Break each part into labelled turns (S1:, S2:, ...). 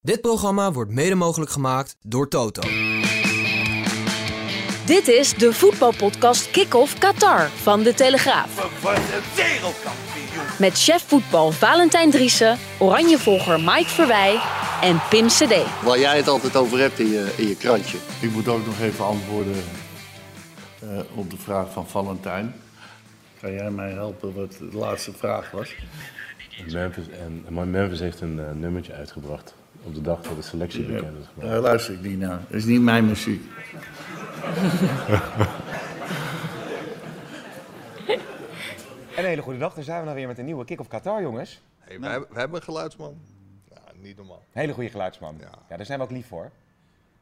S1: Dit programma wordt mede mogelijk gemaakt door Toto.
S2: Dit is de voetbalpodcast Kick-Off Qatar van De Telegraaf.
S3: Verworden wereldkampioen.
S2: Met chef voetbal Valentijn Driessen, oranjevolger Mike Verwij en Pim Cedee.
S4: Waar jij het altijd over hebt in je, in je krantje.
S5: Ik moet ook nog even antwoorden eh, op de vraag van Valentijn. Kan jij mij helpen wat de laatste vraag was?
S6: Memphis en My Memphis heeft een eh, nummertje uitgebracht op de dag dat de selectie bekend is gemaakt.
S5: Daar Eh, luister ik niet naar. Dat is niet mijn muziek.
S7: En een hele goede dag, daar zijn we dan weer met een nieuwe Kick of Qatar, jongens.
S8: Hey, we, hebben, we hebben een geluidsman. Ja, Nou, niet normaal.
S7: Hele goede geluidsman. Ja.
S8: Ja.
S7: daar zijn we ook lief voor.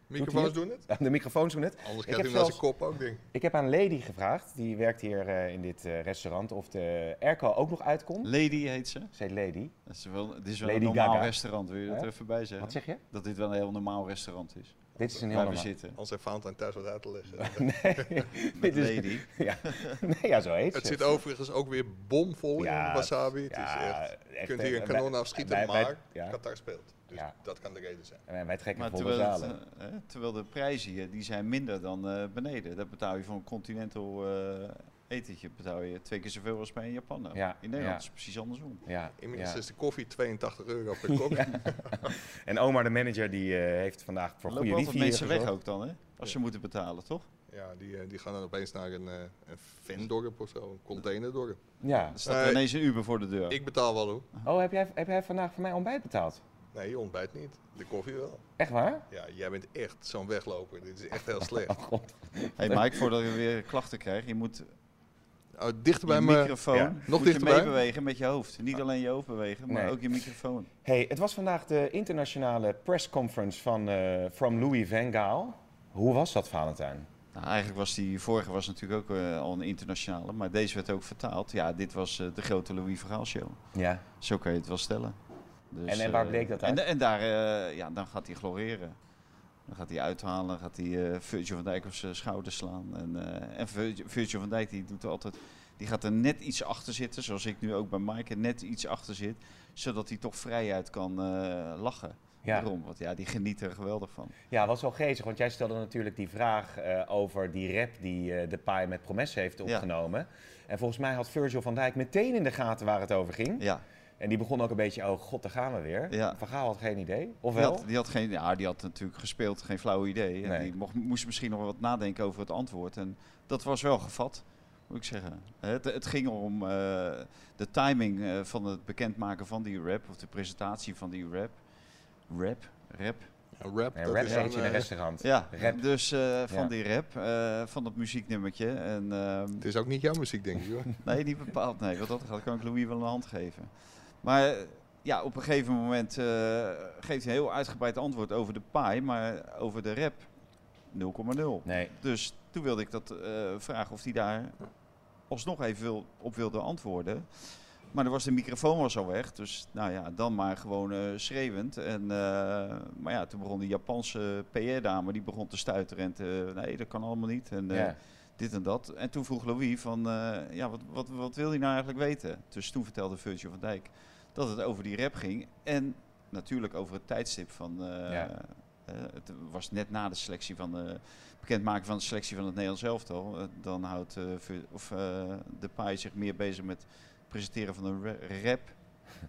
S8: Microfoons
S7: Doet hij
S8: doen het.
S7: De microfoons doen het.
S8: Anders
S7: ik,
S8: krijgt
S7: heb
S8: hij wel zijn
S7: zelfs-
S8: kop ook, ding.
S7: ik heb aan Lady gevraagd, die werkt hier eh, in dit eh, restaurant, of de airco ook nog uitkomt.
S9: Lady heet ze.
S7: Zij Lady.
S9: Dat is wel, het is wel
S7: Lady
S9: een normaal
S7: Gaga.
S9: restaurant, wil je dat
S7: Hè?
S9: er even bij zeggen?
S7: Wat zeg je?
S9: Dat dit wel een heel normaal restaurant is.
S7: Dit is een heel
S9: waar we
S7: normaal-
S9: zitten.
S8: Anders heeft Valentijn thuis wat uit te leggen.
S7: Dit is-
S9: Lady.
S7: Ja. Nee, ja, zo heet
S8: het
S7: ze.
S8: zit overigens ook weer bomvol
S7: Ja,
S8: in wasabi. Het
S7: ja,
S8: is echt,
S7: echt,
S8: je kunt
S7: eh,
S8: hier een
S7: wij-
S8: kanon afschieten,
S7: wij- wij-
S8: maar
S7: ja.
S8: Qatar speelt. Dus
S7: Ja.
S8: dat kan de reden zijn.
S7: En wij trekken
S9: Maar
S7: volle
S9: terwijl, het,
S7: zalen.
S9: eh, hè, terwijl de prijzen hier, die zijn minder dan eh, beneden. Dat betaal je voor een continental eh, etentje, betaal je twee keer zoveel als bij een Japaner.
S7: Ja,
S9: In Nederland
S7: ja.
S9: is het precies andersom.
S7: ja,
S8: Inmiddels
S7: ja.
S8: is de koffie 82 euro per kop.
S7: En Omar, de manager, die eh, heeft vandaag voor
S9: Er
S7: goede
S9: lopen altijd
S7: wifi hier
S9: mensen weg
S7: gezorgd.
S9: ook dan, hè? Als ze moeten betalen, toch?
S8: Ja, die, eh, die gaan dan opeens naar een, eh een vendorp of zo, een containerdorp.
S7: Ja.
S9: Dan staat er
S8: Eh,
S9: ineens een Uber voor de deur.
S8: Ik betaal wel hoor.
S7: Oh, heb jij, heb jij vandaag voor mij ontbijt betaald?
S8: Nee, je ontbijt niet. De koffie wel.
S7: Echt waar?
S8: Ja, jij bent echt zo'n wegloper. Dit is echt heel slecht.
S9: hey Mike, voordat je weer klachten krijgt, je moet
S8: Oh, dichter bij
S9: je
S8: mijn
S9: microfoon
S7: ja.
S9: moet
S8: Nog
S9: je
S8: dichterbij?
S9: meebewegen met je hoofd. Niet alleen je hoofd bewegen, maar
S7: Nee.
S9: ook je microfoon.
S7: Hey, het was vandaag de internationale pressconference van eh, From Louis van Gaal. Hoe was dat, Valentijn?
S9: Nou, eigenlijk was die vorige was natuurlijk ook eh, al een internationale, maar deze werd ook vertaald. Ja, dit was eh, de grote Louis Vergaal show.
S7: Ja.
S9: Zo kan je het wel stellen. Dus,
S7: En- en waar
S9: eh,
S7: bleek dat uit?
S9: En, en daar, eh, ja, dan gaat hij gloreren. Dan gaat hij uithalen, gaat hij eh, Virgil van Dijk op zijn schouder slaan. En, eh, en Virgil, Virgil van Dijk die doet altijd, die gaat er net iets achter zitten, zoals ik nu ook bij Mike er net iets achter zit, zodat hij toch vrijuit kan eh, lachen.
S7: Ja.
S9: Waarom? Want ja, die geniet er geweldig van.
S7: Ja, was wel geestig, want jij stelde natuurlijk die vraag eh, over die rap die eh de Pai met Promes heeft opgenomen. En volgens mij had Virgil van Dijk meteen in de gaten waar het over ging.
S9: Ja.
S7: En die begon ook een beetje, oh god, daar gaan we weer.
S9: Ja.
S7: Van Gaal had geen idee, of
S9: Die
S7: wel?
S9: had, die, had geen, ja, die had natuurlijk gespeeld, geen flauw idee. En
S7: Nee.
S9: Die mocht, moest misschien nog wat nadenken over het antwoord. En dat was wel gevat, moet ik zeggen. Het, het ging om eh, de timing eh, van het bekendmaken van die rap, of de presentatie van die rap. Rap? Rap?
S8: Ja, rap,
S7: Nee,
S8: dat
S7: rap
S8: is
S7: eet je
S8: zo'n,
S7: in een
S8: eh,
S7: restaurant.
S9: Ja,
S7: Rap.
S9: dus eh, van
S7: Ja.
S9: die rap, eh, van dat muzieknummertje. En, ehm,
S8: Het is ook niet jouw muziek, denk ik hoor.
S9: Nee, niet bepaald. Nee, want dat gaat, kan ik Louis wel een hand geven. Maar eh, ja, op een gegeven moment eh, geeft hij een heel uitgebreid antwoord over de paai, maar over de rap 0,0.
S7: Nee.
S9: Dus toen wilde ik dat eh, vragen of hij daar alsnog even wil, op wilde antwoorden. Maar er was de microfoon was al weg, dus nou ja, dan maar gewoon eh, schreeuwend. En, eh, maar ja, toen begon die Japanse PR-dame, die begon te stuiteren en te, nee, dat kan allemaal niet. En, eh,
S7: Ja.
S9: dit en dat. En toen vroeg Louis van, eh, ja, wat, wat, wat wil hij nou eigenlijk weten? Dus toen vertelde Virgil van Dijk dat het over die rap ging. En natuurlijk over het tijdstip van, eh,
S7: Ja.
S9: eh, het was net na de selectie van, de bekendmaken van de selectie van het Nederlands elftal. Eh, dan houdt eh, Vir- of, eh, de paai zich meer bezig met het presenteren van een ra- rap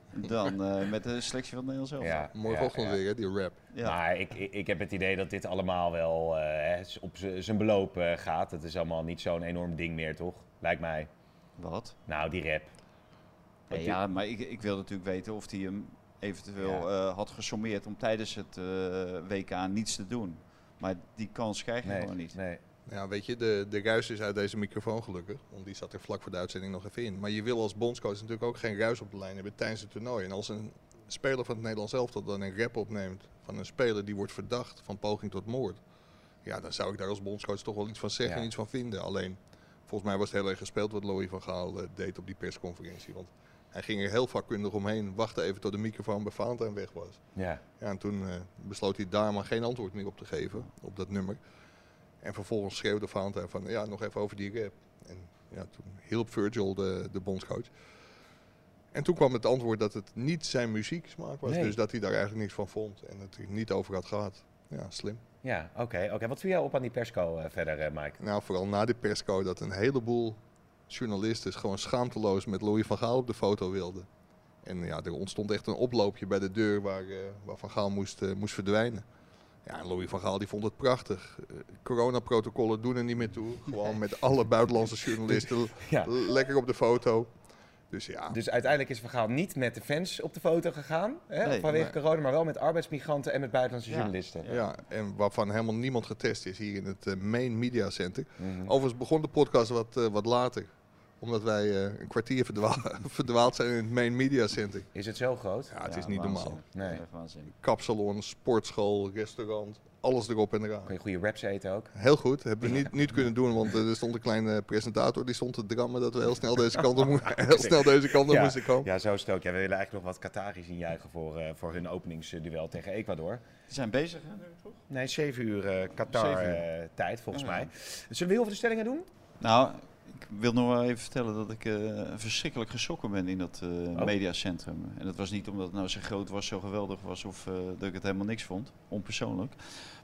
S9: dan eh, met de selectie van het Nederlands elftal.
S7: Ja,
S8: Morgenochtend
S7: ja, ja.
S8: weer, hè, die rap.
S9: Ja.
S7: Maar ik, ik, ik heb het idee dat dit allemaal wel eh, hè, s- op z- zijn beloop eh, gaat. Het is allemaal niet zo'n enorm ding meer, toch? Lijkt mij.
S9: Wat?
S7: Nou, die rap.
S9: Nee,
S7: Want
S9: ja, maar ik, ik wil natuurlijk weten of hij hem eventueel eh, had gesommeerd om tijdens het eh, WK niets te doen. Maar die kans krijg je
S7: Nee,
S9: gewoon niet.
S7: nee.
S8: Ja, Nou, weet je, de, de ruis is uit deze microfoon gelukkig. Want die zat er vlak voor de uitzending nog even in. Maar je wil als bondscoach natuurlijk ook geen ruis op de lijn hebben tijdens het toernooi. En als een speler van het Nederlands elftal dan een rap opneemt van een speler die wordt verdacht van poging tot moord. Ja, dan zou ik daar als bondscoach toch wel iets van zeggen
S7: Ja.
S8: en iets van vinden. Alleen, volgens mij was het heel erg gespeeld wat Louis van Gaal eh, deed op die persconferentie. Want hij ging er heel vakkundig omheen, wachtte even tot de microfoon bij Valentijn weg was.
S7: Ja.
S8: Ja, en toen eh, besloot hij daar maar geen antwoord meer op te geven, op dat nummer. En vervolgens schreeuwde Valentijn van, ja, nog even over die rap. En ja, toen hielp Virgil, de, de bondscoach. En toen kwam het antwoord dat het niet zijn muzieksmaak was.
S7: Nee.
S8: Dus dat hij daar eigenlijk niks van vond en het er niet over had gehad. Ja, slim.
S7: Ja, oké. oké. Wat viel jou op aan die persco eh, verder, eh, Mike?
S8: Nou, vooral na de persco dat een heleboel journalisten gewoon schaamteloos met Louis van Gaal op de foto wilden. En ja, er ontstond echt een oploopje bij de deur waar, eh, waar Van Gaal moest, eh, moest verdwijnen. Ja, en Louis van Gaal die vond het prachtig. Eh, coronaprotocollen doen er niet meer toe. Gewoon met alle buitenlandse journalisten
S7: Ja.
S8: l- lekker op de foto. Dus ja,
S7: Dus uiteindelijk is Van Gaal niet met de fans op de foto gegaan, hè,
S9: Nee,
S7: vanwege
S8: nee.
S7: corona, maar wel met arbeidsmigranten en met buitenlandse
S9: Ja.
S7: journalisten.
S8: ja. en waarvan helemaal niemand getest is hier in het eh, Main Media Center.
S7: Mhm.
S8: Overigens begon de podcast wat, eh, wat later. Omdat wij eh, een kwartier verdwa- verdwaald zijn in het Main Media Center.
S7: Is het zo groot?
S8: Ja, het is niet normaal.
S7: Nee.
S9: Nee. Echt waanzin.
S8: Kapsalon, sportschool, restaurant, alles erop en eraan.
S7: Kun je goede raps eten ook?
S8: Heel goed, hebben we niet, niet kunnen doen, want eh, er stond een kleine presentator die stond te drammen dat we heel snel deze kant op, mo- heel snel deze kant op
S7: ja,
S8: moesten komen.
S7: ja, zo stoot. Ja, we willen eigenlijk nog wat Qataris injuichen voor, eh, voor hun openingsduel tegen Ecuador.
S9: Ze zijn bezig, hè, nu, toch?
S7: Nee, 7 uur eh, Qatar
S9: Zeven Ah,
S7: eh, tijd volgens
S9: Ja.
S7: mij. Zullen we heel veel de stellingen doen?
S9: Nou, ik wil nog wel even vertellen dat ik eh, verschrikkelijk geschrokken ben in dat eh, mediacentrum. En dat was niet omdat het nou zo groot was, zo geweldig was of eh, dat ik het helemaal niks vond. Onpersoonlijk.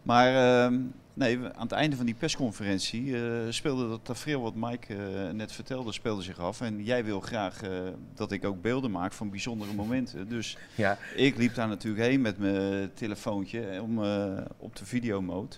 S9: Maar ehm, nee, we- aan het einde van die persconferentie eh, speelde dat tafereel wat Mike eh, net vertelde, speelde zich af. En jij wil graag eh, dat ik ook beelden maak van bijzondere momenten. Dus
S7: Ja.
S9: ik liep daar natuurlijk heen met mijn telefoontje om, eh, op de videomode.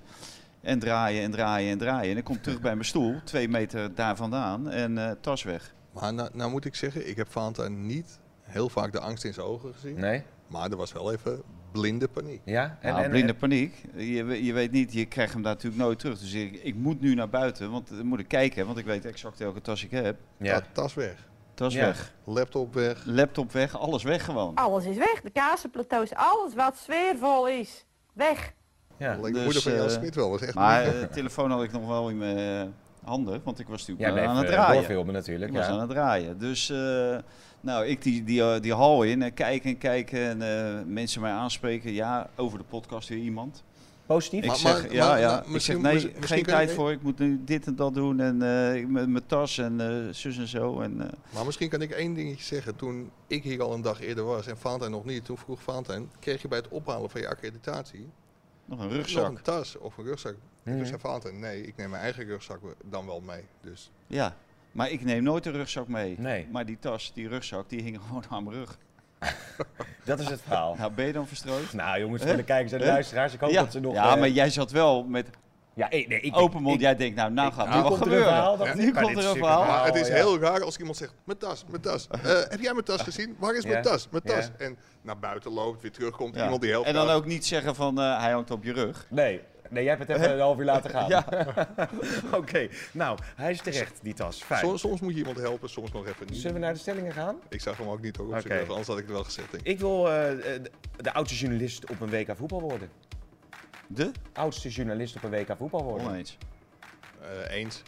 S9: En draaien en draaien en draaien. En ik kom terug bij mijn stoel, twee meter daar vandaan en eh, tas weg.
S8: Maar nou, nou moet ik zeggen, ik heb Valentijn niet heel vaak de angst in zijn ogen gezien.
S7: Nee?
S8: Maar er was wel even blinde paniek.
S7: Ja?
S9: En, Nou, blinde paniek. Je, we- je weet niet, je krijgt hem daar natuurlijk nooit terug. Dus ik, ik moet nu naar buiten, want dan moet ik kijken, want ik weet exact welke tas ik heb.
S7: ja.
S8: Ta- tas weg,
S9: Tas
S7: Ja.
S9: weg,
S8: laptop weg.
S9: laptop weg, alles weg gewoon.
S10: Alles is weg. De kaassenplateaus, alles wat sfeervol is, weg.
S7: Ja.
S8: Leek de
S9: Dus,
S8: moeder van Jan
S9: eh,
S8: Smit wel, was echt
S9: Maar
S8: moeilijk.
S9: de telefoon had ik nog wel in mijn handen, want ik was
S7: Jij
S9: natuurlijk
S7: bleef
S9: aan het
S7: eh,
S9: draaien.
S7: doorfilmen natuurlijk.
S9: Ik was aan
S7: Ja.
S9: het draaien. Dus eh, nou, ik die, die, eh, die hal in en kijken en kijken en eh, mensen mij aanspreken. Ja, over de podcast weer iemand.
S7: Positief?
S9: Ik
S8: Maar-
S9: zeg,
S8: maar-
S9: ja,
S8: maar-
S9: ja.
S8: maar
S9: ik zeg
S8: misschien-
S9: nee,
S8: misschien- misschien
S9: geen
S8: kun je-
S9: tijd voor. Ik moet nu dit en dat doen en eh, ik met mijn tas en eh, zus en zo. En, eh,
S8: Maar misschien kan ik één dingetje zeggen. Toen ik hier al een dag eerder was en Valentijn nog niet, toen vroeg Valentijn, kreeg je bij het ophalen van je accreditatie
S9: nog een
S8: nog
S9: rugzak. Mhm.
S8: een tas of een rugzak? En toen zei Valentijn, nee, ik neem mijn eigen rugzak dan wel mee. Dus
S9: Ja, maar ik neem nooit een rugzak mee.
S7: Nee.
S9: Maar die tas, die rugzak, die hing gewoon aan mijn rug.
S7: Dat is het verhaal.
S9: Nou, ben je dan verstrooid?
S7: Nou jongens, voor de kijkers en de luisteraars, ik hoop
S9: ja,
S7: dat ze nog...
S9: ja
S7: eh,
S9: maar jij zat wel met
S7: ja, eh, nee, ik,
S9: open mond.
S7: ik-
S9: jij denkt, nou, nou gaat
S7: nu
S9: er wat
S7: komt er een
S9: gebeuren.
S7: verhaal, dat-
S9: nu
S7: maar
S9: komt
S7: dit
S9: er
S7: is
S9: een
S7: natuurlijk
S9: verhaal.
S7: een
S8: Maar het is
S7: ja.
S8: heel raar als iemand zegt, mijn tas, mijn tas. Eh, heb jij mijn tas gezien? Waar is mijn
S7: Ja.
S8: tas? Mijn tas.
S7: Ja.
S8: En naar buiten loopt, weer terugkomt,
S9: Ja.
S8: iemand die helpt.
S9: En dan
S8: jou.
S9: ook niet zeggen van eh, hij hangt op je rug.
S7: Nee. Nee, jij hebt het even een half uur laten gaan.
S9: Ja.
S7: Oké, nou, hij is terecht, die tas. Fijn.
S8: Soms, soms moet je iemand helpen, soms nog even niet.
S7: Zullen we naar de stellingen gaan?
S8: Ik zag hem ook niet hoor, op
S7: Oké.
S8: zijn rug, anders had ik het wel gezegd. denk ik.
S7: Ik wil eh, eh, de, de oudste journalist op een WK voetbal worden.
S9: De?
S7: Oudste journalist op een WK voetbal worden. Oké.
S9: Oneens.
S8: Eh, eens.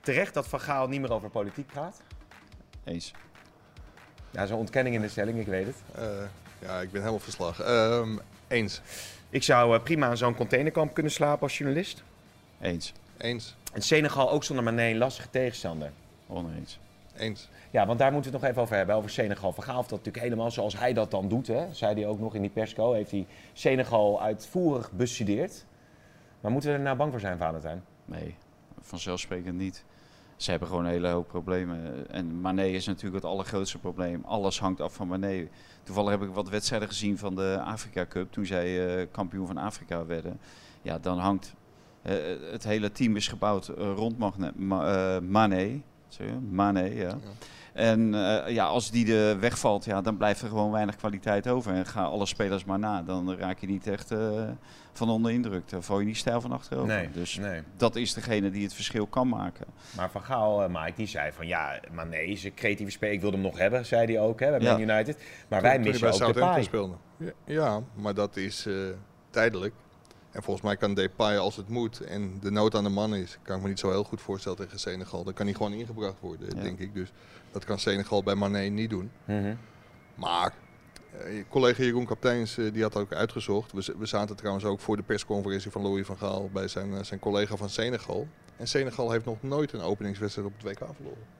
S7: Terecht dat Van Gaal niet meer over politiek praat.
S9: Eens.
S7: Ja, zo'n ontkenning in de stelling, ik weet het.
S8: Eh, ja, ik ben helemaal verslag. Ehm, eens.
S7: Ik zou eh, prima aan zo'n containerkamp kunnen slapen als journalist.
S9: Eens.
S8: Eens.
S7: En Senegal ook zonder Mané een lastige tegenstander.
S9: Oneens.
S8: Eens.
S7: Ja, want daar moeten we het nog even over hebben. Over Senegal. Van Gaal heeft dat natuurlijk helemaal zoals hij dat dan doet. Hè? Zei hij ook nog in die persco. Heeft hij Senegal uitvoerig bestudeerd. Maar moeten we er nou bang voor zijn, Valentijn?
S9: Nee, vanzelfsprekend niet. Ze hebben gewoon een hele hoop problemen. En Mané is natuurlijk het allergrootste probleem. Alles hangt af van Mané. Toevallig heb ik wat wedstrijden gezien van de Afrika Cup. Toen zij eh, kampioen van Afrika werden. Ja, dan hangt... eh, het hele team is gebouwd eh, rond Magne, Ma- eh, Mané. Sorry, Mane, ja. En eh, ja, als die de wegvalt, ja, dan blijft er gewoon weinig kwaliteit over. En ga alle spelers maar na. Dan raak je niet echt eh, van onder indruk. Dan val je niet stijl van achterover.
S7: Nee,
S9: dus
S7: nee.
S9: dat is degene die het verschil kan maken.
S7: Maar Van Gaal, eh, Mike, die zei van ja, maar nee, ze creatieve speler, ik wilde hem nog hebben, zei hij ook hè, bij
S9: Ja.
S7: Man United. Maar
S8: Toen-
S7: wij
S8: toen hij
S7: missen
S8: bij
S7: ook
S8: Southampton
S7: Depay.
S8: speelde. Ja, ja, maar dat is eh, tijdelijk. En volgens mij kan Depay als het moet en de nood aan de man is, kan ik me niet zo heel goed voorstellen tegen Senegal. Dan kan hij gewoon ingebracht worden,
S9: Ja.
S8: denk ik. Dus dat kan Senegal bij Mané niet doen.
S7: Mhm.
S8: Maar eh, je collega Jeroen Kapteins eh, die had dat ook uitgezocht. We, z- we zaten trouwens ook voor de persconferentie van Louis van Gaal bij zijn, eh, zijn collega van Senegal. En Senegal heeft nog nooit een openingswedstrijd op het WK verloren.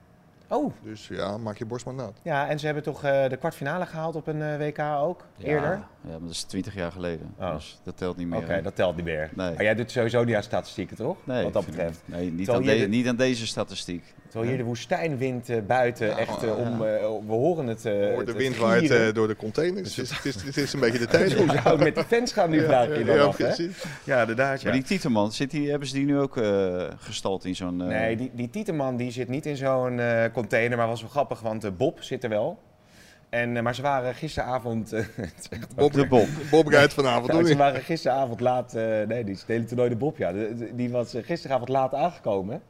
S7: Oh.
S8: Dus ja, maak je borst maar nat.
S7: Ja, en ze hebben toch eh, de kwartfinale gehaald op een eh, WK ook, eerder?
S9: Ja, maar dat is twintig jaar geleden. Dus dat telt niet meer.
S7: Oh. Oké, dat telt niet meer.
S9: Nee.
S7: Maar jij doet sowieso niet aan statistieken, toch?
S9: Nee,
S7: Wat dat
S9: vind
S7: betreft.
S9: ik- Nee, niet
S7: Terwijl
S9: aan,
S7: hier
S9: de-
S7: de-
S9: niet aan deze statistiek.
S7: Terwijl hier de woestijnwind eh, buiten echt
S9: oh,
S7: eh, om... eh, om- we horen het... eh,
S8: Hoort
S7: het-
S8: de
S7: het
S8: wind waait
S7: gieren.
S8: eh, door de containers. Het is, het, is, het is een beetje de tijd.
S7: Dus hoe zou het met die fans gaan nu,
S8: Ja,
S7: vraag ik je
S8: ja,
S7: dan
S8: ja,
S7: af, hè?
S8: precies.
S7: Ja, inderdaad, ja.
S9: Maar die Tieteman, zit die, hebben ze die nu ook eh, gestald in zo'n... eh,
S7: Nee, die, die Tieteman die zit niet in zo'n eh, container, maar was wel grappig, want eh, Bob zit er wel. En, eh, maar ze waren gisteravond... eh, het is echt
S8: Bob,
S9: de Bob.
S8: Bob rijdt vanavond
S7: Nou,
S8: hoor.
S7: ze waren gisteravond laat, eh, nee, die stelen toernooi de Bob, ja. De- de- die was eh, gisteravond laat aangekomen.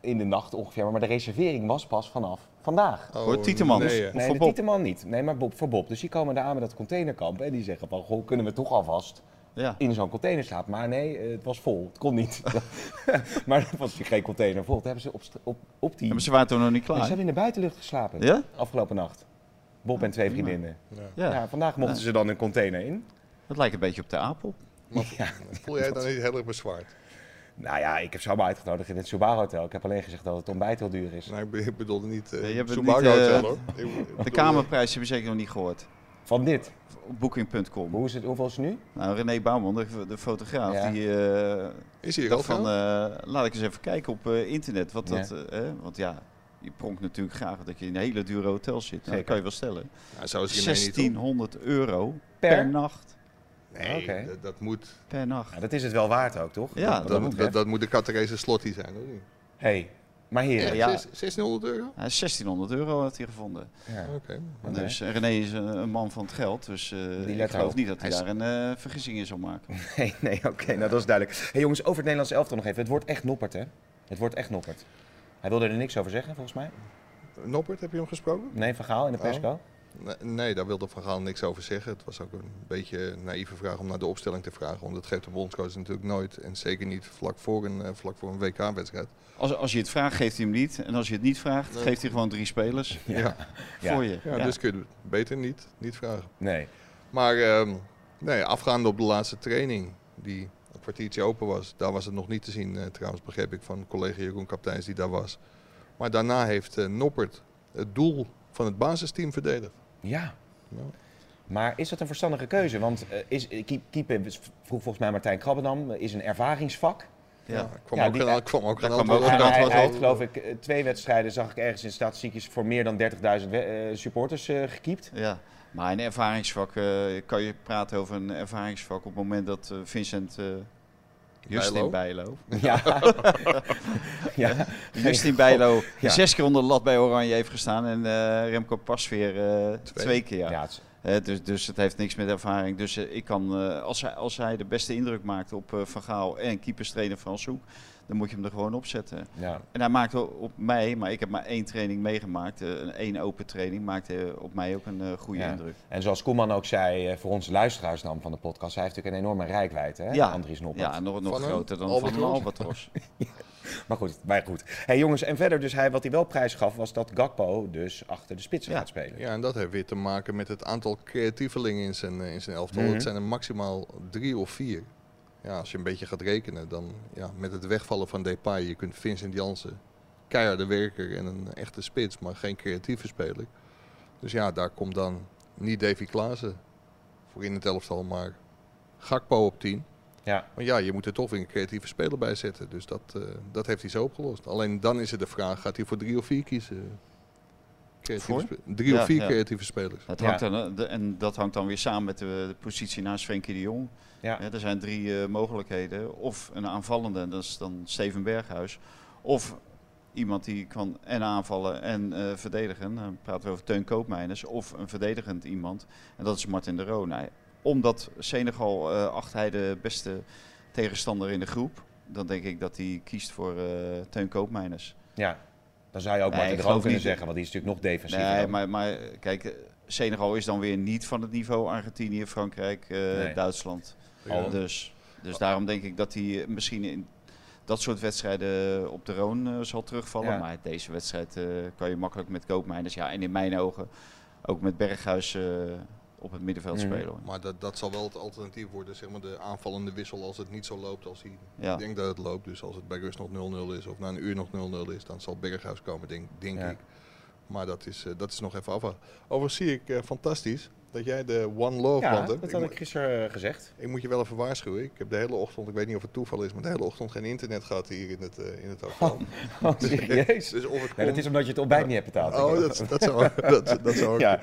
S7: In de nacht ongeveer, maar de reservering was pas vanaf vandaag.
S8: Oh,
S9: Voor Tieteman.
S8: nee,
S9: Of
S8: eh.
S7: Nee,
S9: voor
S7: de
S9: Bob.
S7: Tieteman niet. Nee, maar Bob, voor Bob. Dus die komen daar aan met dat containerkamp en die zeggen van, goh, kunnen we toch alvast
S9: Ja.
S7: in zo'n container slapen? Maar nee, eh, het was vol. Het kon niet. maar er was geen container vol. Toen hebben ze op, st- op, op die...
S9: Ja, maar ze waren toen nog niet
S7: Nee, ze
S9: klaar.
S7: hebben in de buitenlucht geslapen.
S9: Ja? Ah,
S7: Afgelopen nacht. Bob en twee vriendinnen.
S9: Ja.
S7: Ja, vandaag mochten ze dan een container in.
S9: Dat lijkt een beetje op de apel.
S8: Voel jij dan niet heel erg bezwaard?
S7: Nou ja, ik heb Saba uitgenodigd in het Subaru Hotel. Ik heb alleen gezegd dat het ontbijt heel duur is.
S8: Nee, ik be- ik bedoelde niet eh
S9: Nee, je hebt het
S8: Subaru
S9: niet, eh,
S8: Hotel, hoor. Ik bedoel- ik
S9: De
S8: bedoel, eh,
S9: kamerprijs hebben we zeker nog niet gehoord.
S7: Van dit.
S9: Op Booking.com.
S7: Hoe is het, hoeveel is het nu?
S9: Nou, René Bouwman, de, de fotograaf,
S7: Ja.
S9: die eh,
S8: Is hij er al
S9: dacht
S8: van?
S9: van... eh, laat ik eens even kijken op eh, internet. Wat
S7: Ja.
S9: dat, eh, hè, want ja, je pronkt natuurlijk graag dat je in een hele dure hotel zit.
S7: Zeker.
S9: Nou, dat kan je wel stellen.
S8: nou, zou ze hiermee niet doen.
S9: 1600 euro per,
S7: Per?
S9: nacht.
S8: Nee,
S7: Oké.
S8: dat, dat moet,
S9: Per nacht.
S7: Ja, dat is het wel waard ook, toch?
S9: Ja,
S7: Wat
S8: dat,
S7: betreft.
S8: dat, dat moet de Catarese Slotti zijn. Hoor.
S7: hey, maar heren.
S9: ja.
S8: Zes- 1600 euro?
S9: Ja, 1600 euro had hij gevonden.
S7: Ja.
S8: Oké.
S7: Oké.
S9: Dus eh, René is een, een man van het geld, dus eh, ik
S7: let
S9: geloof
S7: erop.
S9: niet dat hij,
S7: Hij
S9: daar een eh, vergissing in zal maken.
S7: Nee, nee oké, nou dat is duidelijk. hey, jongens, over het Nederlands elftal nog even. Het wordt echt noppert, hè? Het wordt echt noppert. Hij wilde er niks over zeggen, volgens mij.
S8: Noppert, heb je hem gesproken?
S7: Nee, Van Gaal in
S8: Oh.
S7: de persco.
S8: Nee, Nee, daar wilde Van Gaal niks over zeggen. Het was ook een beetje een naïeve vraag om naar de opstelling te vragen. Want dat geeft de bondscoach natuurlijk nooit. En zeker niet vlak voor een, eh, vlak voor een WK-wedstrijd.
S9: Als, als je het vraagt, geeft hij hem niet. En als je het niet vraagt,
S8: Nee.
S9: geeft hij gewoon drie spelers
S8: Ja. Ja.
S7: Ja.
S9: voor je.
S7: Ja.
S8: dus kun je het beter niet, niet vragen.
S7: Nee.
S8: Maar ehm, nee, afgaande op de laatste training, die een kwartiertje open was, daar was het nog niet te zien eh, trouwens, begreep ik van collega Jeroen Kapteins die daar was. Maar daarna heeft eh, Noppert het doel van het basisteam verdedigd.
S7: Ja.
S8: Ja.
S7: Maar is dat een verstandige keuze? Want eh, is, eh, keep- keeper, vroeg volgens mij Martijn Krabbendam, eh, is een ervaringsvak.
S9: Ja.
S8: Ja, kwam,
S7: Ja,
S8: ook
S7: die-
S8: geen, kwam ook geen
S9: kwam
S8: antwoord
S9: ook
S8: op.
S7: Hij,
S9: dat
S7: hij-
S9: was
S7: hij
S9: al-
S7: heeft geloof ik eh, twee wedstrijden, zag ik ergens in statistiekjes, voor meer dan 30.000 we- eh, supporters eh, gekiept.
S9: Ja. Maar een ervaringsvak, eh, kan je praten over een ervaringsvak op het moment dat eh, Vincent... eh, Justin
S8: Bijlo?
S9: Bijlo.
S7: Ja. ja.
S9: Justin Bijlo
S7: Ja.
S9: zes keer onder de lat bij Oranje heeft gestaan en eh, Remco Pasveer eh, twee. keer.
S7: Ja,
S9: Ja.
S7: het is-
S9: Hè, dus, dus het heeft niks met ervaring. Dus eh, ik kan, eh, als, hij, als hij de beste indruk maakt op eh, Van Gaal en keeperstrainer Frans Hoek, dan moet je hem er gewoon op zetten.
S7: ja.
S9: En hij maakte op mij, maar ik heb maar één training meegemaakt, eh, een één open training, maakte eh, op mij ook een eh, goede
S7: Ja.
S9: indruk.
S7: En zoals Koeman ook zei, eh, voor onze luisteraars dan van de podcast, hij heeft natuurlijk een enorme rijkwijd, hè? Andries Noppert.
S9: ja, nog, nog
S8: Van een
S9: groter dan van
S8: Albatros.
S9: een Albatros.
S7: Maar goed, maar goed. Hey, jongens, en verder, dus hij, wat hij wel prijs gaf, was dat Gakpo dus achter de spitsen
S9: Ja.
S7: gaat spelen.
S8: Ja, en dat heeft weer te maken met het aantal creatievelingen in zijn, eh, in zijn elftal. Het zijn er maximaal drie of vier. Ja, als je een beetje gaat rekenen, dan ja, met het wegvallen van Depay, je kunt Vincent Jansen, keiharde werker en een echte spits, maar geen creatieve speler. Dus ja, daar komt dan niet Davy Klaassen voor in het elftal, maar Gakpo op 10.
S7: Ja.
S8: Maar ja, je moet er toch weer een creatieve speler bij zetten. Dus dat, eh, dat heeft hij zo opgelost. Alleen dan is er de vraag, gaat hij voor drie of vier kiezen? Creatieve
S9: Voor?
S8: spe- Drie
S9: Ja,
S8: of vier
S9: ja.
S8: creatieve spelers.
S9: Dat
S7: Ja.
S9: hangt dan, eh, de- en dat hangt dan weer samen met de, de positie naast Frenkie de Jong.
S7: Ja.
S9: Hè, er zijn drie eh, mogelijkheden. Of een aanvallende, en dat is dan Steven Berghuis. Of iemand die kan en aanvallen en eh, verdedigen. Dan praten we over Teun Koopmeiners of een verdedigend iemand. En dat is Martin de Roon. Nou, omdat Senegal eh, acht hij de beste tegenstander in de groep. Dan denk ik dat hij kiest voor eh Teun Koopmeiners.
S7: Ja, dan zou je ook
S9: Nee,
S7: Martin
S9: ik
S7: de
S9: geloof
S7: Roon kunnen
S9: niet-
S7: zeggen, want die is natuurlijk nog defensiever.
S9: Nee,
S7: dan.
S9: maar, maar kijk, eh, Senegal is dan weer niet van het niveau Argentinië, Frankrijk, eh,
S7: Nee.
S9: Duitsland.
S7: Ja.
S9: Dus, dus daarom denk ik dat hij eh, misschien in dat soort wedstrijden op de Roon eh, zal terugvallen.
S7: Ja.
S9: Maar deze wedstrijd eh, kan je makkelijk met Koopmeiners, ja, en in mijn ogen ook met Berghuis eh, op het middenveld
S7: Mhm.
S9: spelen. hoor.
S8: Maar dat, dat zal wel het alternatief worden, zeg maar de aanvallende wissel als het niet zo loopt als hij
S9: Ja.
S8: ik denkt dat het loopt. Dus als het bij rust nog 0-0 is of na een uur nog 0-0 is, dan zal Berghuis komen, denk, denk
S9: Ja.
S8: ik. Maar dat is, eh, dat is nog even afwachten. Overigens zie ik eh, fantastisch dat jij de One Love
S7: Ja,
S8: planten.
S7: dat had ik gisteren eh, gezegd.
S8: Ik moet je wel even waarschuwen. Ik heb de hele ochtend, ik weet niet of het toeval is, maar de hele ochtend geen internet gehad hier in het, eh, in het hotel.
S7: Oh, serieus?
S8: Dus of het
S7: Nee, dat
S8: kon-
S7: is omdat je het ontbijt niet hebt betaald.
S8: Oh, dat, dat zou, dat, dat zou ook
S7: Ja.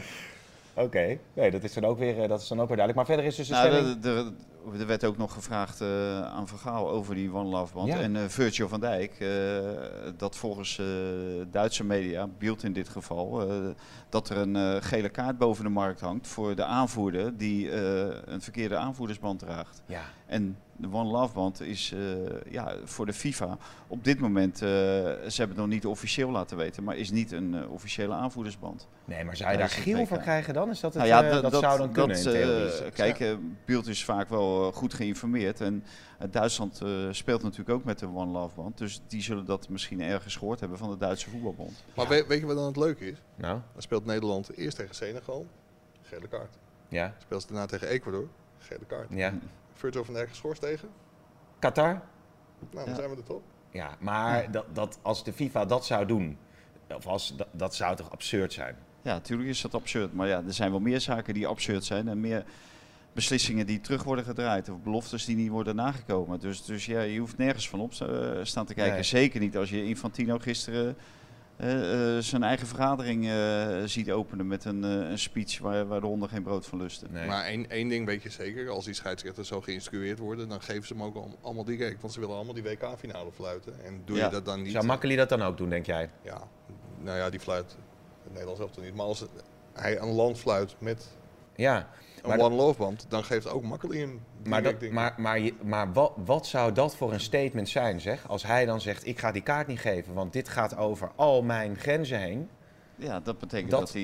S7: Oké, nee, dat is dan ook weer eh, dat is dan ook weer duidelijk. Maar verder is dus de
S9: Nou,
S7: stelling...
S9: de- de- de- er werd ook nog gevraagd eh, aan Van Gaal over die One Love Band.
S7: Ja.
S9: En eh, Virgil van Dijk, eh, dat volgens eh, Duitse media, Bild in dit geval, eh, dat er een eh, gele kaart boven de markt hangt voor de aanvoerder die eh, een verkeerde aanvoerdersband draagt.
S7: Ja.
S9: En de One Love Band is eh, ja, voor de FIFA op dit moment, eh, ze hebben het nog niet officieel laten weten, maar is niet een eh, officiële aanvoerdersband.
S7: Nee, maar zou je daar
S9: Tijdens het
S7: geel
S9: WK.
S7: voor krijgen dan? Is dat het,
S9: Nou ja,
S7: eh,
S9: da-
S7: dat, zou dan kunnen in
S9: eh,
S7: theorie. is dat-
S9: kijk, eh Bielt is vaak wel eh, goed geïnformeerd. En eh, Duitsland eh, speelt natuurlijk ook met de One Love Band. Dus die zullen dat misschien ergens gehoord hebben van de Duitse voetbalbond.
S8: Maar weet, weet je wat dan het leuke is?
S7: Nou,
S8: Dan speelt Nederland eerst tegen Senegal, gele kaart.
S7: ja,
S8: Speelt ze daarna tegen Ecuador, gele kaart.
S7: ja.
S8: Virgil van Dijk geschorst tegen.
S7: Qatar?
S8: Nou, dan zijn we er toch.
S7: Ja, maar dat, dat, als de FIFA dat zou doen, of als, dat, dat zou toch absurd zijn?
S9: Ja, natuurlijk is dat absurd. Maar ja, er zijn wel meer zaken die absurd zijn. En meer beslissingen die terug worden gedraaid. Of beloftes die niet worden nagekomen. Dus, dus ja, je hoeft nergens van op eh, staan te kijken.
S7: Nee.
S9: Zeker niet als je Infantino gisteren... eh, eh, zijn eigen vergadering eh, ziet openen met een, eh, een speech waar, waar de honden geen brood van lusten.
S7: Nee.
S8: Maar één, één ding weet je zeker, als die scheidsrechters zo geïnstrueerd worden, dan geven ze hem ook al- allemaal direct. Want ze willen allemaal die WK-finale fluiten. En doe
S9: Ja.
S8: je dat dan niet? eh.
S7: Zou Makkeli dat dan ook doen, denk jij?
S8: Ja, nou ja, die fluit het Nederlands zelf toch niet. Maar als het- hij een land fluit met
S7: Ja,
S8: een
S7: Maar dat-
S8: One Love Band, dan geeft ook Makkeli hem direct.
S7: maar, dat,
S8: denk ik.
S7: maar, maar, je- maar wat, wat zou dat voor een statement zijn, zeg? Als hij dan zegt, ik ga die kaart niet geven, want dit gaat over al mijn grenzen heen.
S9: Ja, dat betekent
S7: Dat-
S9: dat, hij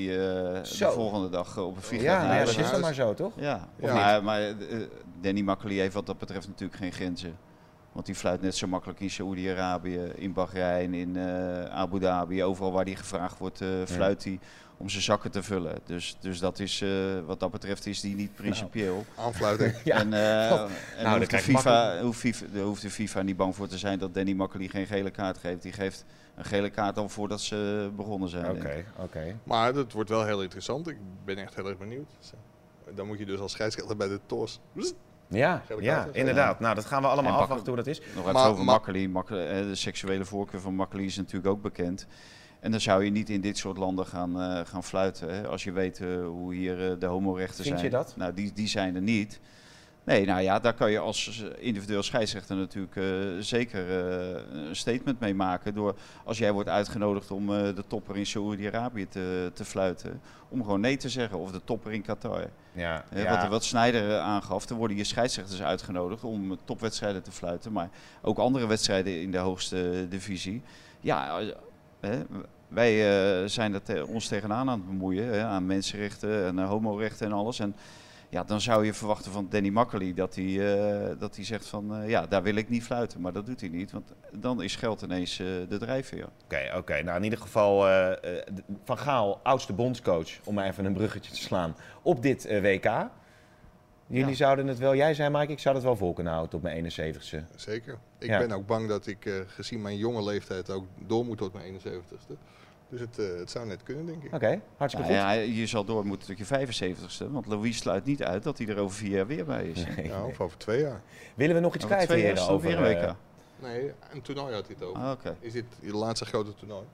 S9: eh,
S7: Zo.
S9: de volgende dag eh, op een vliegtuig
S7: Ja, nou
S9: naar
S7: ja,
S9: huis
S7: dat is
S9: gaat.
S7: dan maar zo, toch?
S9: Ja,
S7: Of
S9: maar, maar eh, Danny Makkely heeft wat dat betreft natuurlijk geen grenzen. Want die fluit net zo makkelijk in Saoedi-Arabië, in Bahrein, in eh, Abu Dhabi. Overal waar die gevraagd wordt, eh, fluit hij om zijn zakken te vullen. Dus, dus dat is, eh, wat dat betreft is die niet principieel.
S8: Aanfluiting.
S7: Nou. Ja.
S9: En, eh,
S7: Nou,
S9: en
S7: dan
S9: hoeft, de
S7: krijg je
S9: FIFA,
S7: makkelijk-
S9: hoeft, FIFA, daar hoeft de FIFA niet bang voor te zijn dat Danny Makkely geen gele kaart geeft. Die geeft een gele kaart al voordat ze begonnen zijn.
S7: Oké,
S9: denk ik.
S7: oké.
S8: Maar dat wordt wel heel interessant. Ik ben echt heel erg benieuwd. Dan moet je dus als scheidsrechter bij de TOS.
S7: Ja,
S8: Gele kaart,
S7: ja,
S9: eh,
S8: hè?
S7: inderdaad. Nou, dat gaan we allemaal
S9: En Bakker-
S7: afwachten hoe dat is.
S9: Nog even
S8: Maar-
S9: over
S8: maar-
S9: Makkeli. Makkeli, hè, eh, de seksuele voorkeur van Makkeli is natuurlijk ook bekend. En dan zou je niet in dit soort landen gaan, eh, gaan fluiten. Hè, als je weet eh, hoe hier eh, de homorechten
S7: Vind
S9: zijn.
S7: je dat?
S9: Nou, die, die zijn er niet. Nee, nou ja, daar kan je als eh, individueel scheidsrechter natuurlijk eh, zeker eh, een statement mee maken. Door als jij wordt uitgenodigd om eh, de topper in Saoedi-Arabië te, te fluiten. Om gewoon nee te zeggen. Of de topper in Qatar.
S7: Ja,
S9: Hè,
S7: ja.
S9: Wat, wat Snijder eh, aangaf, er worden hier scheidsrechters uitgenodigd om eh, topwedstrijden te fluiten. Maar ook andere wedstrijden in de hoogste eh, divisie. Ja, eh, hè, w- wij eh, zijn dat eh, ons tegenaan aan het bemoeien. Hè, aan mensenrechten en eh, homorechten en alles. En ja, dan zou je verwachten van Danny Makkely dat hij, eh, dat hij zegt van... eh, ja, daar wil ik niet fluiten. Maar dat doet hij niet, want dan is geld ineens eh, de drijfveer.
S7: Oké, oké. Nou, in ieder geval eh, eh, Van Gaal, oudste bondscoach, om maar even een bruggetje te slaan, op dit eh, WK. Jullie
S9: Ja.
S7: zouden het wel, jij zei Mike, ik zou dat wel vol kunnen houden tot mijn 71ste.
S8: Zeker. Ik
S7: Ja.
S8: ben ook bang dat ik, eh, gezien mijn jonge leeftijd, ook door moet tot mijn 71ste. Dus het, eh, het zou net kunnen, denk ik.
S7: Oké, hartstikke
S9: Nou
S7: goed.
S9: ja, je zal door moeten tot je 75ste. Want Louis sluit niet uit dat hij er over vier jaar weer bij is.
S7: Nee.
S8: Ja, of over twee jaar.
S7: Willen we nog iets
S9: Over
S7: kwijt,
S9: twee jaar
S7: heren,
S9: is het
S7: over...
S9: weer een
S7: eh,
S9: WK.
S8: Nee, een toernooi had hij het over.
S9: Ah, oké.
S8: Is dit je laatste grote toernooi?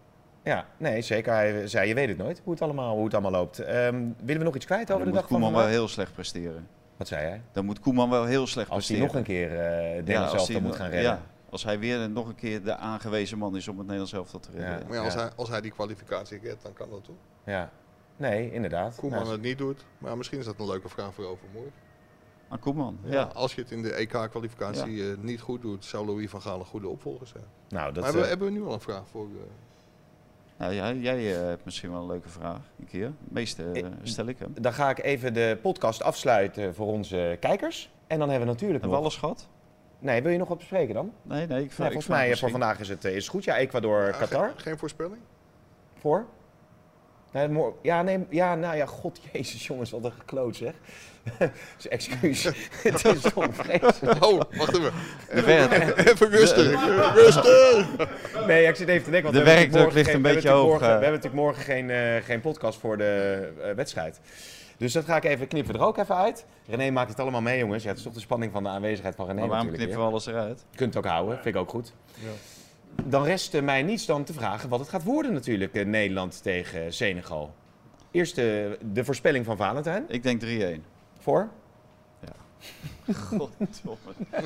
S7: ja, nee, zeker. Hij zei, je weet het nooit, hoe het allemaal, hoe het allemaal loopt. Ehm, willen we nog iets kwijt
S9: Dan
S7: over de
S9: moet
S7: dag van
S9: Koeman wel
S7: vandaag?
S9: heel slecht presteren.
S7: Wat zei hij?
S9: Dan moet Koeman wel heel slecht
S7: Als hij
S9: presteren.
S7: nog een keer eh Dennis
S9: Ja,
S7: zelf
S9: hij
S7: moet
S9: no-
S7: gaan redden.
S9: Ja, als Als hij weer nog een keer de aangewezen man is om het Nederlands elftal te redden.
S8: Maar ja, als, hij, als hij die kwalificatie redt, dan kan dat toch?
S7: Ja. Nee, inderdaad.
S8: Koeman
S7: Nou,
S8: het niet doet. Maar misschien is dat een leuke vraag voor overmorgen.
S9: Aan Koeman, ja.
S8: Als je het in de EK-kwalificatie eh, niet goed doet, zou Louis van Gaal een goede opvolger zijn.
S7: Nou, dat,
S8: maar hebben,
S7: eh,
S8: hebben we nu al een vraag voor... eh,
S9: Nou, jij, jij eh, hebt misschien wel een leuke vraag, een keer. Meeste eh, stel ik hem.
S7: Dan ga ik even de podcast afsluiten voor onze kijkers. En dan hebben we natuurlijk
S9: Hebben we
S7: nog...
S9: alles gehad?
S7: Nee, wil je nog wat bespreken dan?
S9: Nee, nee. Ik, vraag-
S7: Nee,
S9: ik
S7: volgens
S9: vraag
S7: mij eh,
S9: misschien-
S7: voor vandaag is het, eh, is het goed. Ja, Ecuador,
S8: ah,
S7: Qatar.
S8: Geen, geen voorspelling?
S7: Voor? Nee, mo- ja, nee, ja, nou ja, god, jezus, jongens, wat een gekloot, zeg. dus excuus, het is toch vreselijk.
S8: Oh, wacht even.
S9: werk-
S8: Even, even rustig. Rustig!
S7: Nee, ik zit even te denken, want
S9: De
S7: we hebben
S9: werkdruk
S7: natuurlijk
S9: ligt
S7: morgen
S9: een
S7: geen- we
S9: beetje
S7: hebben natuurlijk
S9: hoog,
S7: morgen-
S9: eh.
S7: we hebben natuurlijk morgen geen, eh, geen podcast voor de eh, wedstrijd. Dus dat ga ik even knippen er ook even uit. René maakt het allemaal mee, jongens. Ja, het is toch de spanning van de aanwezigheid van René
S9: maar waarom
S7: natuurlijk.
S9: knippen
S7: weer.
S9: we alles eruit?
S7: Je kunt het ook houden, vind ik ook goed. Dan rest eh, mij niets dan te vragen wat het gaat worden natuurlijk, eh, Nederland tegen Senegal. Eerst eh, de voorspelling van Valentijn.
S9: Ik denk 3-1.
S7: Voor?
S9: Godverdomme.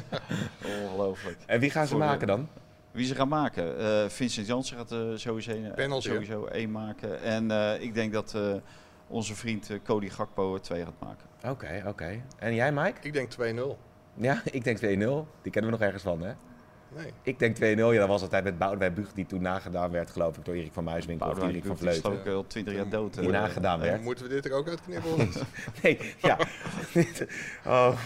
S9: Ongelooflijk.
S7: En wie gaan ze
S9: Voor, eh,
S7: maken dan?
S9: Wie ze gaan maken? Eh, Vincent Jansen gaat eh, sowieso, een,
S8: Penalty, hè?
S9: sowieso één maken. En eh, ik denk dat eh, onze vriend eh, Cody Gakpo er twee gaat maken.
S7: Oké, oké. En jij, Mike?
S8: Ik denk 2-0.
S7: Ja, ik denk 2-0. Die kennen we nog ergens van, hè?
S8: Nee.
S7: Ik denk 2-0. Ja, dat was altijd met Boudewijn Buug, die toen nagedaan werd, geloof ik, door Erik van Muiswinkel of
S9: Boudewijn
S7: Erik van
S9: Buurt, die eh, is
S7: Vleuten.
S9: toch ook al twintig jaar dood.
S7: Die
S9: eh.
S7: nagedaan werd.
S8: Moeten we dit er ook uitknippen? of niet?
S7: Nee, ja. oh,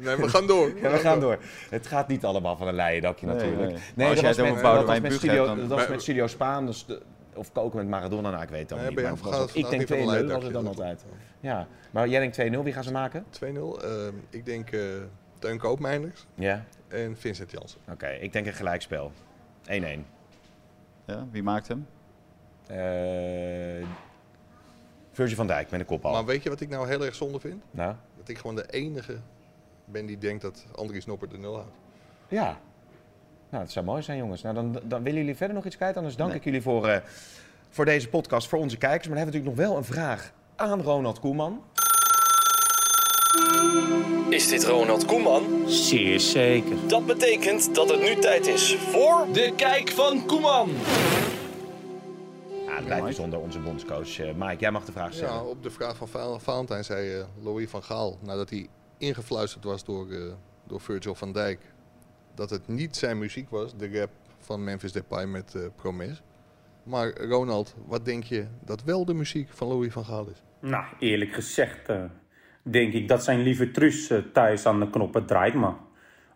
S8: nee, we gaan door.
S7: ja, we gaan door. Het gaat niet allemaal van een leien dakje
S9: Nee,
S7: natuurlijk.
S9: nee. Maar
S7: Nee, dat
S9: als jij
S7: was
S9: het over
S7: met- dat was
S9: Boudewijn
S7: met
S9: Buug
S7: Studio-
S9: hebt,
S7: dat
S9: dan-
S7: was
S8: Maar-
S7: met Studio Spaan. dus de- Of koken met Maradona, nou, ik weet het
S8: Nee,
S7: allemaal
S8: bij
S7: niet.
S8: jou
S7: Maar dat was
S8: gaat
S7: het-
S8: het
S7: ik denk
S8: vandaag niet
S7: 2-0
S8: van een
S7: was het dan
S8: leidakje,
S7: altijd. Ja, maar jij denkt 2-0. Wie gaan ze maken?
S8: 2-0. Ehm, ik denk eh Teun Koopmeiners
S7: Ja.
S8: en Vincent Jansen.
S7: Oké, ik denk een gelijkspel. 1-1.
S9: Ja, wie maakt hem?
S7: Eh Virgil van Dijk met een kopbal.
S8: Maar weet je wat ik nou heel erg zonde vind?
S7: Nou,
S8: Dat ik gewoon de enige ben die denkt dat Andries Nopper de nul houdt.
S7: ja. Nou, het zou mooi zijn, jongens. Nou, dan, dan willen jullie verder nog iets kwijt. Anders dank ik jullie voor, eh, voor deze podcast, voor onze kijkers. Maar dan hebben we natuurlijk nog wel een vraag aan Ronald Koeman.
S11: Is dit Ronald Koeman?
S12: Zeer zeker.
S11: Dat betekent dat het nu tijd is voor de kijk van Koeman.
S7: Ah, het blijft bijzonder, onze bondscoach. eh, Mike, jij mag de vraag stellen.
S8: Ja, op de vraag van Val- Valentijn zei eh, Louis van Gaal, nadat hij ingefluisterd was door, eh, door Virgil van Dijk, dat het niet zijn muziek was, de rap van Memphis Depay met eh, Promes. Maar Ronald, wat denk je dat wel de muziek van Louis van Gaal is?
S12: Nou, eerlijk gezegd eh, denk ik dat zijn lieve Truus eh, thuis aan de knoppen draait. Maar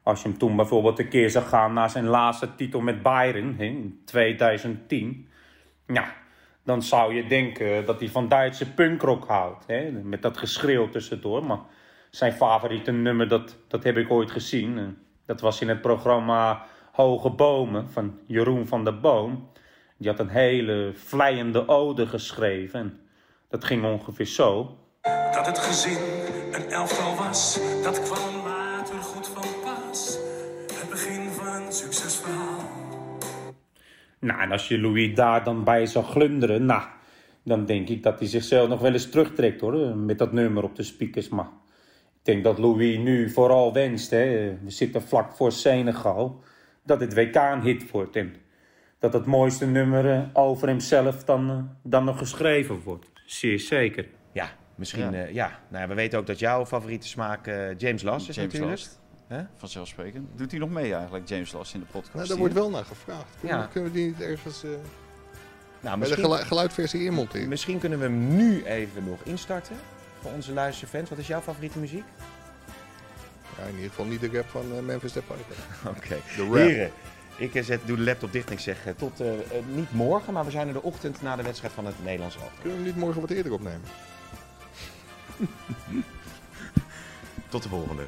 S12: als je hem toen bijvoorbeeld een keer zag gaan naar zijn laatste titel met Bayern hè, in 2010. Nou, dan zou je denken dat hij van Duitse punkrock houdt. Hè, met dat geschreeuw tussendoor. Maar zijn favoriete nummer, dat, dat heb ik ooit gezien. Eh, Dat was in het programma Hoge Bomen van Jeroen van der Boom. Die had een hele vlijende ode geschreven. En dat ging ongeveer zo.
S13: Dat het gezin een elftal was, dat kwam later goed van pas. Het begin van een succesverhaal.
S12: Nou, en als je Louis daar dan bij zou glunderen, nou, dan denk ik dat hij zichzelf nog wel eens terugtrekt hoor, eh, met dat nummer op de speakers. Maar ik denk dat Louis nu vooral wenst, hè, eh, we zitten vlak voor Senegal, dat dit WK een hit wordt en dat het mooiste nummer eh, over hemzelf dan, eh, dan nog geschreven wordt. Zeer zeker.
S7: Ja, misschien. Ja, ja. Nou, ja, we weten ook dat jouw favoriete smaak eh, James Last is
S9: James
S7: natuurlijk.
S9: Last.
S7: Hè?
S9: Vanzelfsprekend. Doet hij nog mee eigenlijk, James Last, in de podcast?
S8: Nou, daar
S9: hier?
S8: wordt wel naar gevraagd.
S7: Ja.
S8: Dan Kunnen we die niet ergens eh
S7: Nou,
S8: bij de
S7: misschien,
S8: gelu- geluidversie inmonteren?
S7: misschien kunnen we hem nu even nog instarten. Voor onze luisterfans. Wat is jouw favoriete muziek?
S8: Ja, in ieder geval niet de rap van eh, Memphis Depay.
S7: Oké.
S8: De rap.
S7: Heren, ik eh, zet, doe de laptop dicht en ik zeg eh, tot eh, eh, niet morgen, maar we zijn er de ochtend na de wedstrijd van het Nederlands elftal.
S8: Kunnen we hem niet morgen wat eerder opnemen?
S7: Tot de volgende.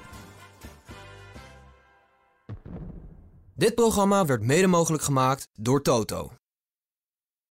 S1: Dit programma werd mede mogelijk gemaakt door Toto.